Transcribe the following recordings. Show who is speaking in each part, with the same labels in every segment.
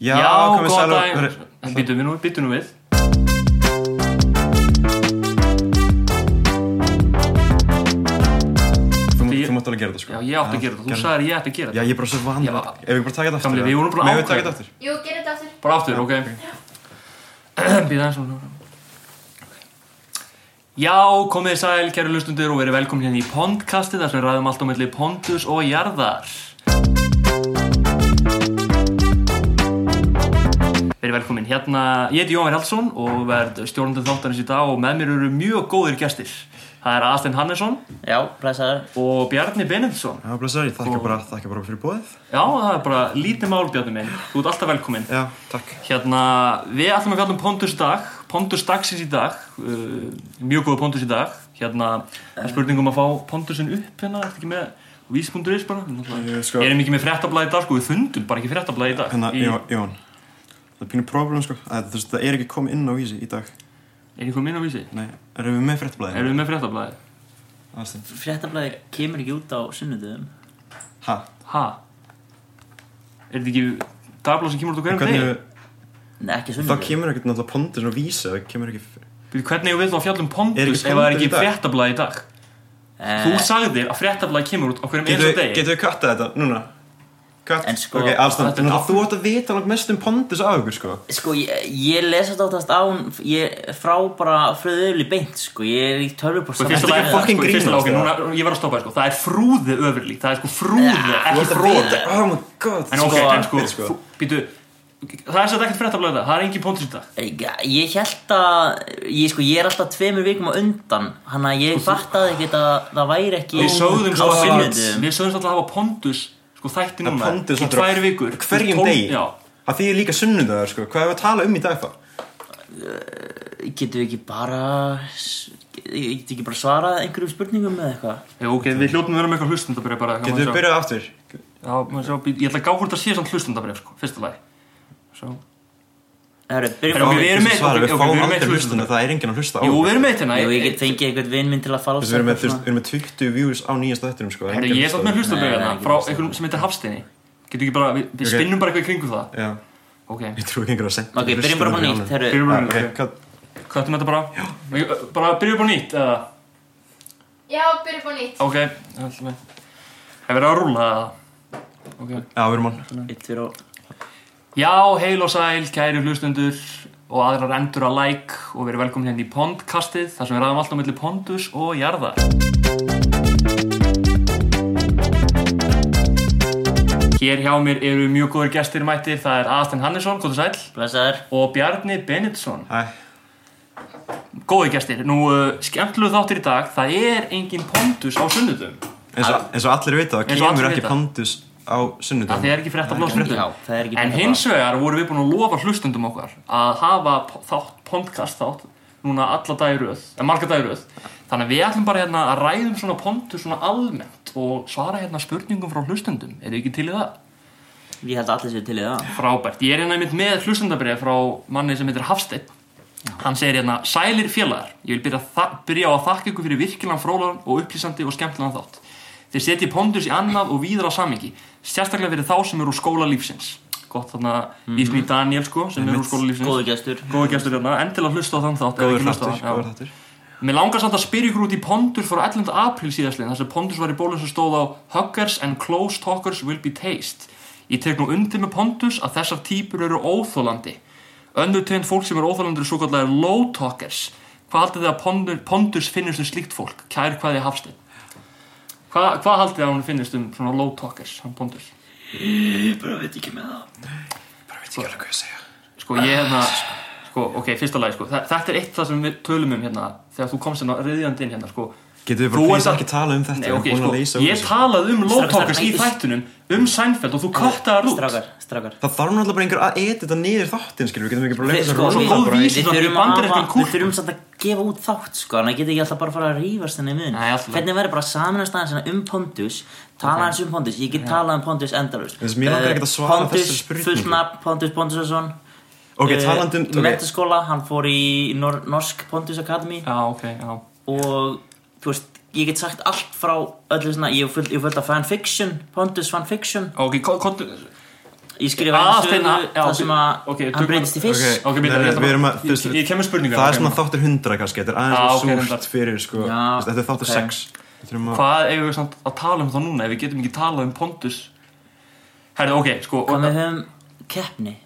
Speaker 1: Já, komið
Speaker 2: góðan
Speaker 1: sæl og
Speaker 2: daginn.
Speaker 1: verið-
Speaker 2: Býtu nú, býtu nú við
Speaker 1: Þú,
Speaker 2: Því-
Speaker 1: þú mátt alveg gera þetta sko
Speaker 2: Já, ég átti að gera þetta, þú sagðir ég ætti að gera
Speaker 1: Já,
Speaker 2: þetta
Speaker 1: ég er bara svo vann
Speaker 2: Já.
Speaker 1: Ef við bara taka þetta aftur
Speaker 2: Gamli,
Speaker 1: eða?
Speaker 2: við vorum búin að
Speaker 1: Megum við taka
Speaker 2: ákveða
Speaker 1: þetta aftur
Speaker 3: Jú, gerir þetta aftur.
Speaker 2: Bara aftur, ok Býða eins og Já, komið þið sæl, kæru lustundur og verið velkomin hérna í Pondkastið þar sem við ræðum allt á milli Pondus og Jarðar Verið velkomin hérna, ég heiti Jóhann Hjaldsson og verð stjórnundur þáttarins í dag og með mér eru mjög góðir gestir Það er Aðstein Hannesson
Speaker 4: Já, blæsaður
Speaker 2: og Bjarni Benediktsson
Speaker 1: Já, blessaður, ég þakka bara, þakka bara fyrir bóðið
Speaker 2: Já, það er bara lítið mál Bjarni minn, þú ert alltaf velkominn
Speaker 1: Já, takk
Speaker 2: Hérna, við ætlum að fjalla um Pontus í dag Pontus dagsins í dag uh, Mjög góð Pontus í dag Hérna, það er spurning um að fá Pontusin upp hérna, ertu ekki með vísbunduris bara
Speaker 1: Ég
Speaker 2: Ég
Speaker 1: sko-
Speaker 2: erum ekki með fréttablaði í dag, sko, við fundum bara ekki fréttablaði í dag
Speaker 1: Hérna,
Speaker 2: í,
Speaker 1: Jón- Jón Það er pínu problem sko að, þú veist, Það er ekki komið inn á vísi í dag
Speaker 2: Er ykkur minn á vísi?
Speaker 1: Nei, erum við með fréttablaðið?
Speaker 2: Erum við með fréttablaði?
Speaker 1: Erum...
Speaker 4: Fréttablaði kemur ekki út á sunnudöðum
Speaker 1: Ha,
Speaker 2: Ha? Er þetta ekki dagblað sem kemur út um á hverjum
Speaker 1: hvernig
Speaker 2: degi?
Speaker 1: við
Speaker 4: Nei, ekki
Speaker 1: Þá
Speaker 4: sunnudöðum
Speaker 1: kemur ekkert náttúrulega pondur svona vísi Það kemur ekki
Speaker 2: Bíddu, Hvernig eigum við þá að fjalla um
Speaker 1: Er
Speaker 2: Pontus
Speaker 1: ekki
Speaker 2: ef það er
Speaker 1: Pontus í
Speaker 2: ekki
Speaker 1: dag?
Speaker 2: fréttablaði í dag?
Speaker 4: Eh,
Speaker 2: Þú sagðir að fréttablaði kemur út á hverjum eins
Speaker 1: Getum
Speaker 2: og
Speaker 1: við-
Speaker 2: degi
Speaker 1: getum við kattað þetta núna? Katt,
Speaker 4: En sko-
Speaker 1: ok, afstand
Speaker 2: Þetta er
Speaker 1: Núna,
Speaker 2: aftur.
Speaker 1: Þú ert að vita langt mest um pondus af okkur sko
Speaker 4: Sko, ég, ég lesa þetta áttast án ég, frá bara fröðuðli beint sko, ég er í tölvuport
Speaker 2: Sko, í fyrsta
Speaker 1: Þetta er
Speaker 2: lagi-
Speaker 1: ekki fucking
Speaker 2: sko, í fyrsta
Speaker 1: grínast,
Speaker 2: lagi- ok,
Speaker 1: eða?
Speaker 2: núna- Ég var að stoppa þér, sko, það er frúðu öfurlík Það er sko frúðu,
Speaker 1: Þú
Speaker 2: ekki
Speaker 1: ert að
Speaker 2: fróðu
Speaker 1: vita- Oh my god
Speaker 2: En ok,
Speaker 4: Sko,
Speaker 2: en sko,
Speaker 1: veit, sko.
Speaker 2: þú- býtu Það er sætt ekkert fréttablaðið það, það er engin póntur í dag
Speaker 4: Ég, Eh, ég held að ég, sko, ég er alltaf tveimur vikum á undan hann að ég fattaði ekki að það væri ekki
Speaker 2: Við sögðum svo
Speaker 4: á
Speaker 2: að
Speaker 4: sunnudöðum
Speaker 2: Við sögðum svo að hafa póntus Sko þætti
Speaker 1: Það
Speaker 2: núna
Speaker 1: Pontus
Speaker 2: í
Speaker 1: náttúrulega
Speaker 2: tvær vikur
Speaker 1: Hverjum
Speaker 2: Tól-
Speaker 1: degi
Speaker 2: Já,
Speaker 1: Það því er líka sunnudagur sko Hvað er að tala um í dag þá?
Speaker 4: Getum við ekki bara getum við ekki bara svarað einhverjum spurningum eða eitthvað
Speaker 2: Jú, ok, við hljótum að vera með eitthvað hlustendabref bara
Speaker 1: Getum við byrjað aftur?
Speaker 2: Já, maður sjá, býtu, ég ætla að gá hvort það sé samt hlustendabref, sko, fyrsta lagi Svo
Speaker 4: Herru,
Speaker 2: Herru,
Speaker 4: byrjum
Speaker 2: ok, við erum með-
Speaker 1: Svara,
Speaker 2: ok,
Speaker 1: Við
Speaker 2: ok, við
Speaker 1: fáum
Speaker 2: erum með
Speaker 1: aldrei
Speaker 2: hlustendur.
Speaker 1: hlustuna Það er enginn að hlusta á
Speaker 2: Jú, við
Speaker 1: okkur.
Speaker 2: erum með hérna. þetta,
Speaker 4: Jú, ég
Speaker 2: næ
Speaker 4: get fengið einhvern vinn minn til að falsa
Speaker 1: Þessi, Við erum með, þú veist,
Speaker 4: eitthvað
Speaker 1: við erum með 20 views á nýjasta þettinum sko
Speaker 2: Herru, ég er samt með
Speaker 4: Nei,
Speaker 2: hlustendabref
Speaker 4: nei,
Speaker 2: hérna
Speaker 4: ekki
Speaker 2: Frá
Speaker 4: hlustendabref.
Speaker 2: einhvern sem heitir Hafsteini Getum ekki bara, við- við
Speaker 1: Ok.
Speaker 2: spinnum bara eitthvað í kringum það
Speaker 1: Já,
Speaker 2: Ok,
Speaker 1: ég trúi ekki einhverja að senda
Speaker 4: svona. Ok, byrjum bara á nýtt, herru
Speaker 2: Byrjum bara á
Speaker 1: Ok,
Speaker 2: nýtt.
Speaker 1: hvað-
Speaker 2: Köttum þetta bara Ég- Bara byrjum upp á nýtt eða
Speaker 3: Já, byrja upp á nýtt.
Speaker 2: Ok ætlum við- Það verður að rúla eða Ok
Speaker 1: Já, við erum án
Speaker 4: Eitt fyrir og
Speaker 2: Já, heil og sæl, kæri hlustundur og aðrar endur að like og verið velkomin hérna í Pondkastið þar sem við ræðum alltaf mellir Pondus og Jarðar. Hér hjá mér eru mjög góður gestir mættir, það er Aðstein Hannesson, góður sæl,
Speaker 4: Blessaður
Speaker 2: og Bjarni Benediktsson.
Speaker 1: Æ,
Speaker 2: Góði gestir, nú uh, skemmtluðu þáttir í dag, það er enginn Pondus á sunnudum.
Speaker 1: eins og- eins og allir vita Það
Speaker 2: Eins og allir
Speaker 1: kemur ekki
Speaker 2: vita.
Speaker 1: pondus á
Speaker 2: að þið
Speaker 1: sunnudagum
Speaker 2: er ekki frétt að blóða
Speaker 4: Já,
Speaker 2: fréttum
Speaker 4: það er ekki
Speaker 2: en
Speaker 4: frétt að
Speaker 2: hins vegar vorum við búin að lofa hlustundum okkar að hafa po- þátt, podcast þátt núna alla dagiröð, en eh, marga dagiröð þannig að við ætlum bara hérna að ræðum svona pontu svona almennt og svara hérna spurningum frá hlustundum, er þið ekki til í það?
Speaker 4: Ég held að allir séu til í það
Speaker 2: Frábært, ég er hérna einmitt með hlustendabrið frá manni sem heitir Hafsteinn Hann segir hérna, sælir félagar Ég vil byrja, að þa- byrja á að þakka ykkur fyrir virkilegan frólan og upplýsandi og skemmtilegan þátt Þeir setji pondus í annað og víðra samingi Sérstaklega fyrir þá sem eru úr skóla lífsins Gott þarna mm
Speaker 1: Mhm.
Speaker 2: -hmm. Ísmi Daniel sko, sem eru úr skóla lífsins
Speaker 4: Góður gestur
Speaker 2: Góður gestur hérna, endilega hlusta á þann þátt ef
Speaker 1: Góður
Speaker 2: ekki hlustað á
Speaker 1: þáttur,
Speaker 2: hann, já.
Speaker 1: góður þáttur
Speaker 2: Mér langar samt að spyrja ykkur út í Pondur frá 11. apríl síðastliðin þar sem Pondur var í bólu sem stóð á Huggers and close talkers will be taste Ég tek nú undir með Pondus að þessar típur eru óþólandi Önnur tegund fólk sem eru óþólandi eru svo kallar low talkers Hvað haldið þið að Pondur, Pondus finnist um slíkt fólk? Kær hvað ég hafstein Hva, Hvað haldið þið að hún finnist um svona low talkers, hann Pondus?
Speaker 4: Ég bara veit ekki með það
Speaker 1: Bara veit ekki alveg hvað ég að segja
Speaker 2: Sko ég hérna Sko, ok, fyrsta lagi sko, Þa- þetta er eitt það sem við tölum um hérna þegar þú komst hérna reyðjandi inn hérna sko,
Speaker 1: Getum við
Speaker 2: Þú
Speaker 1: bara please
Speaker 2: ert að-
Speaker 1: ekki tala um þetta
Speaker 2: Nei,
Speaker 1: Við erum
Speaker 2: ok,
Speaker 1: búin að
Speaker 2: sko,
Speaker 1: leysa úr
Speaker 2: ég
Speaker 1: þessu.
Speaker 2: talaði um
Speaker 4: Strákar,
Speaker 2: lóttókars í
Speaker 4: nei,
Speaker 2: þættunum um Sænfeld og þú köttaðar út
Speaker 4: Strákar, strákar
Speaker 1: Það þarf náttúrulega bara einhver að edita niður þáttinn, skilur, við getum ekki bara leiðið
Speaker 4: Sko,
Speaker 1: þessu
Speaker 4: við-
Speaker 2: góð
Speaker 1: bara í-
Speaker 2: vísindi
Speaker 4: Við
Speaker 2: í
Speaker 4: þurfum að
Speaker 2: bandarískan
Speaker 4: hafa-
Speaker 2: kúltúr.
Speaker 4: við þurfum samt að gefa út þátt sko Þannig að geta ekki alltaf bara að fara að rífast henni mun
Speaker 2: Nei, alltaf.
Speaker 4: Hvernig verður bara að saminast aðeins hérna um Pontus Tala aðeins um Pontus Ég get talað um Pontus endalust
Speaker 1: Þess, mér langar ekkert að svara þessari spurningu.
Speaker 4: Pontus, fullnafn, Pontus Pontusson
Speaker 1: Ok, talandi um
Speaker 4: Í
Speaker 1: ok,
Speaker 4: metaskóla, hann fór í nor Norsk Pontus Academy
Speaker 2: Já, ok, já
Speaker 4: og þú veist, ég get sagt allt frá öllu svona, ég hef fullt, ég hef fullt af fanfiction Pondus fanfiction
Speaker 2: Ok, ko- kontu
Speaker 4: Ég skrifaði
Speaker 2: Ah,
Speaker 4: einu
Speaker 2: Steina,
Speaker 4: sögu
Speaker 2: já,
Speaker 4: það sem að
Speaker 2: ok, tökum
Speaker 4: hann breytist í fisk
Speaker 1: Ok.
Speaker 2: Ok, býta,
Speaker 1: Nei,
Speaker 2: ég ætla
Speaker 1: við erum
Speaker 2: bara-
Speaker 1: að- þú veist,
Speaker 2: Ég- Ég kemur spurningar
Speaker 1: Það er svona þáttur 100 kannski, þetta er aðeins
Speaker 2: hérna. Já,
Speaker 1: ah,
Speaker 2: ok, reyndar.
Speaker 1: súrt fyrir sko,
Speaker 4: Já,
Speaker 1: þú veist, þetta er þáttur
Speaker 4: ok.
Speaker 1: 6 okay.
Speaker 2: Hvað eigum við samt að tala um þá núna ef við getum ekki talað um Pontus Herðu, ok, sko
Speaker 4: Hvað með höfum keppni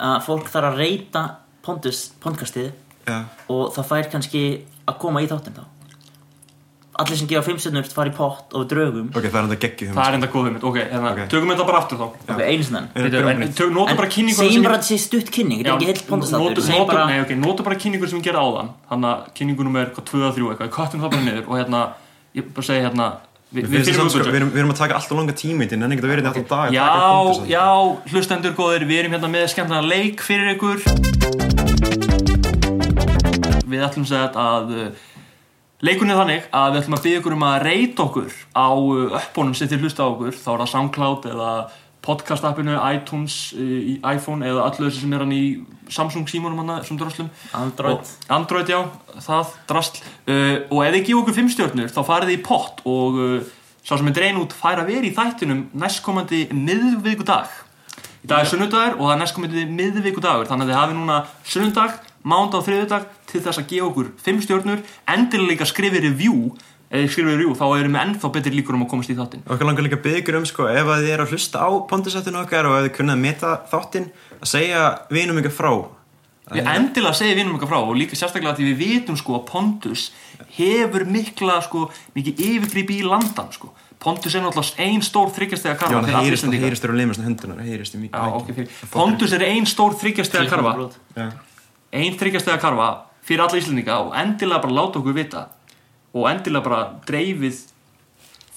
Speaker 4: að fólk þarf að reyta Pontus, Pondkastið
Speaker 1: ja.
Speaker 4: og það fær kannski að koma í þáttinn þá Allir sem gefa 5 stjörnur fara í pott og við draugum
Speaker 1: ok, það er enda geggjum
Speaker 2: Það er enda góð hugmynd, ok, hérna,
Speaker 1: Ok.
Speaker 2: tökum þetta bara aftur þá
Speaker 4: Ok, einu sinna
Speaker 1: Byrjum
Speaker 2: Bíddu,
Speaker 1: bara
Speaker 2: en
Speaker 1: nýtt.
Speaker 2: tök- Notum bara
Speaker 4: En
Speaker 2: kynningu
Speaker 4: segjum bara að þetta sé stutt kynning Þetta er ekki heilt Pondkastið Segjum bara
Speaker 2: Nei, ok, notum bara kynningu sem ég gerði áðan Þannig að kynningunum er hvað 2 að 3 eitthvað Ég köttum það bara niður og hérna Ég bara segi hérna Við,
Speaker 1: Við,
Speaker 2: við
Speaker 1: við,
Speaker 2: fyrir
Speaker 1: sko,
Speaker 2: budget.
Speaker 1: við, erum, við erum að taka alltaf langa tími en en ekkert að vera þetta alltaf dag að taka
Speaker 2: Já,
Speaker 1: Pontus,
Speaker 2: já, hlustendur góðir, við erum hérna með skemmtana leik fyrir ykkur Við ætlum sett að leikunni þannig að við ætlum að byggja ykkur um að reyta okkur á uh, uppunum sem þið hlusta á okkur þá er það SoundCloud eða podcast appinu, iTunes, uh, í iPhone eða allu þessu sem er hann í Samsung símónum hann sem dröslum
Speaker 4: Android
Speaker 2: Og- Android, já, það, drasl uh, Og ef þið gefa okkur fimm stjórnur þá farið þið í pott og uh, sá sem er drein út fær að vera í þættinum næstkomandi miðvikudag Í dag er sunnudagur og það er næstkomandi miðvikudagur þannig að þið hafi núna sunnudag, mánda og þriðudag til þess að gefa okkur fimm stjórnur endilega líka skrifið review eða skrifið review þá erum við ennþá betri líkur um að komast í þáttin
Speaker 1: Okkur langar líka að byggja ykkur um sko, ef að þið eru að hlusta á Pontisattinu okkar og ef þið kunnið að meta þáttinn að segja vinum ykkur frá
Speaker 2: Við endilega segja vinum okkar frá og líka sérstaklega því við vitum sko að Pontus hefur mikla sko mikið yfirgrip í landan sko Pontus er náttúrulega ein stór þryggjastega
Speaker 1: Já,
Speaker 2: karfa
Speaker 1: það
Speaker 2: fyrir allir
Speaker 1: heyrist, það
Speaker 2: Íslendinga.
Speaker 1: heyrist þér að limast á hendunar, það heyrist í mikið
Speaker 2: Já,
Speaker 1: mækinu.
Speaker 2: ok, fyrir- Pontus er ein stór þryggjastega karfa
Speaker 1: Já.
Speaker 2: ein þryggjastega karfa fyrir alla Íslandinga og endilega bara láta okkur vita og endilega bara dreifið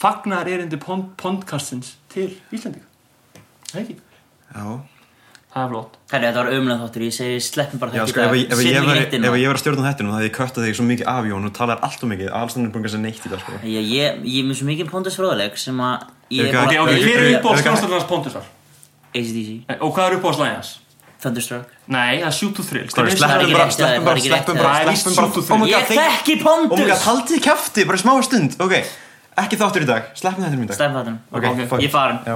Speaker 2: fagnar erindi pond, pondkastins til Íslandinga Það er ekki,
Speaker 1: Já,
Speaker 2: það er flott
Speaker 4: Herri, þetta var ömulega þáttur, ég segi sleppum bara
Speaker 1: já
Speaker 4: þetta
Speaker 1: sko, ef, ef, ef, ég var,
Speaker 4: setjum ekki
Speaker 1: ef
Speaker 4: neitt inn á.
Speaker 1: ég var að stjórna þættinum þá hefði ég köttað þig svo mikið af Jón og talar allt og mikið, allstændir búin að segja neitt í dag sko.
Speaker 4: Ég, ég, ég er með svo mikið Pontus fróðuleik sem að ég
Speaker 1: Ok,
Speaker 2: Ok,
Speaker 1: ok,
Speaker 2: ok, hver er
Speaker 1: ok,
Speaker 2: uppáhalds
Speaker 1: ok.
Speaker 2: hljómsveitarnas Pontusar? Eh,
Speaker 4: ACDC,
Speaker 2: Og hvað er uppáhalds lægjans?
Speaker 4: Thunderstruck
Speaker 2: Nei, það er 7 to 3
Speaker 1: Sorry,
Speaker 4: það er
Speaker 1: sleppum
Speaker 4: ekki
Speaker 1: bara,
Speaker 4: rétt,
Speaker 1: sleppum
Speaker 4: það er
Speaker 1: bara, sleppum
Speaker 2: það er
Speaker 4: ekki rétt,
Speaker 1: bara,
Speaker 2: ekki
Speaker 1: sleppum bara
Speaker 2: rétt.
Speaker 1: Oh my god,
Speaker 4: Ég
Speaker 1: þeir-
Speaker 4: þekki
Speaker 1: Oh my god,
Speaker 4: Pontus
Speaker 1: haldið kæfti, bara smá stund, ok Ekki þáttur í dag, sleppum þættinum í dag
Speaker 4: Sleppum þáttunum
Speaker 1: Ok,
Speaker 2: Ok,
Speaker 1: fuck.
Speaker 4: Ég farin
Speaker 1: Já.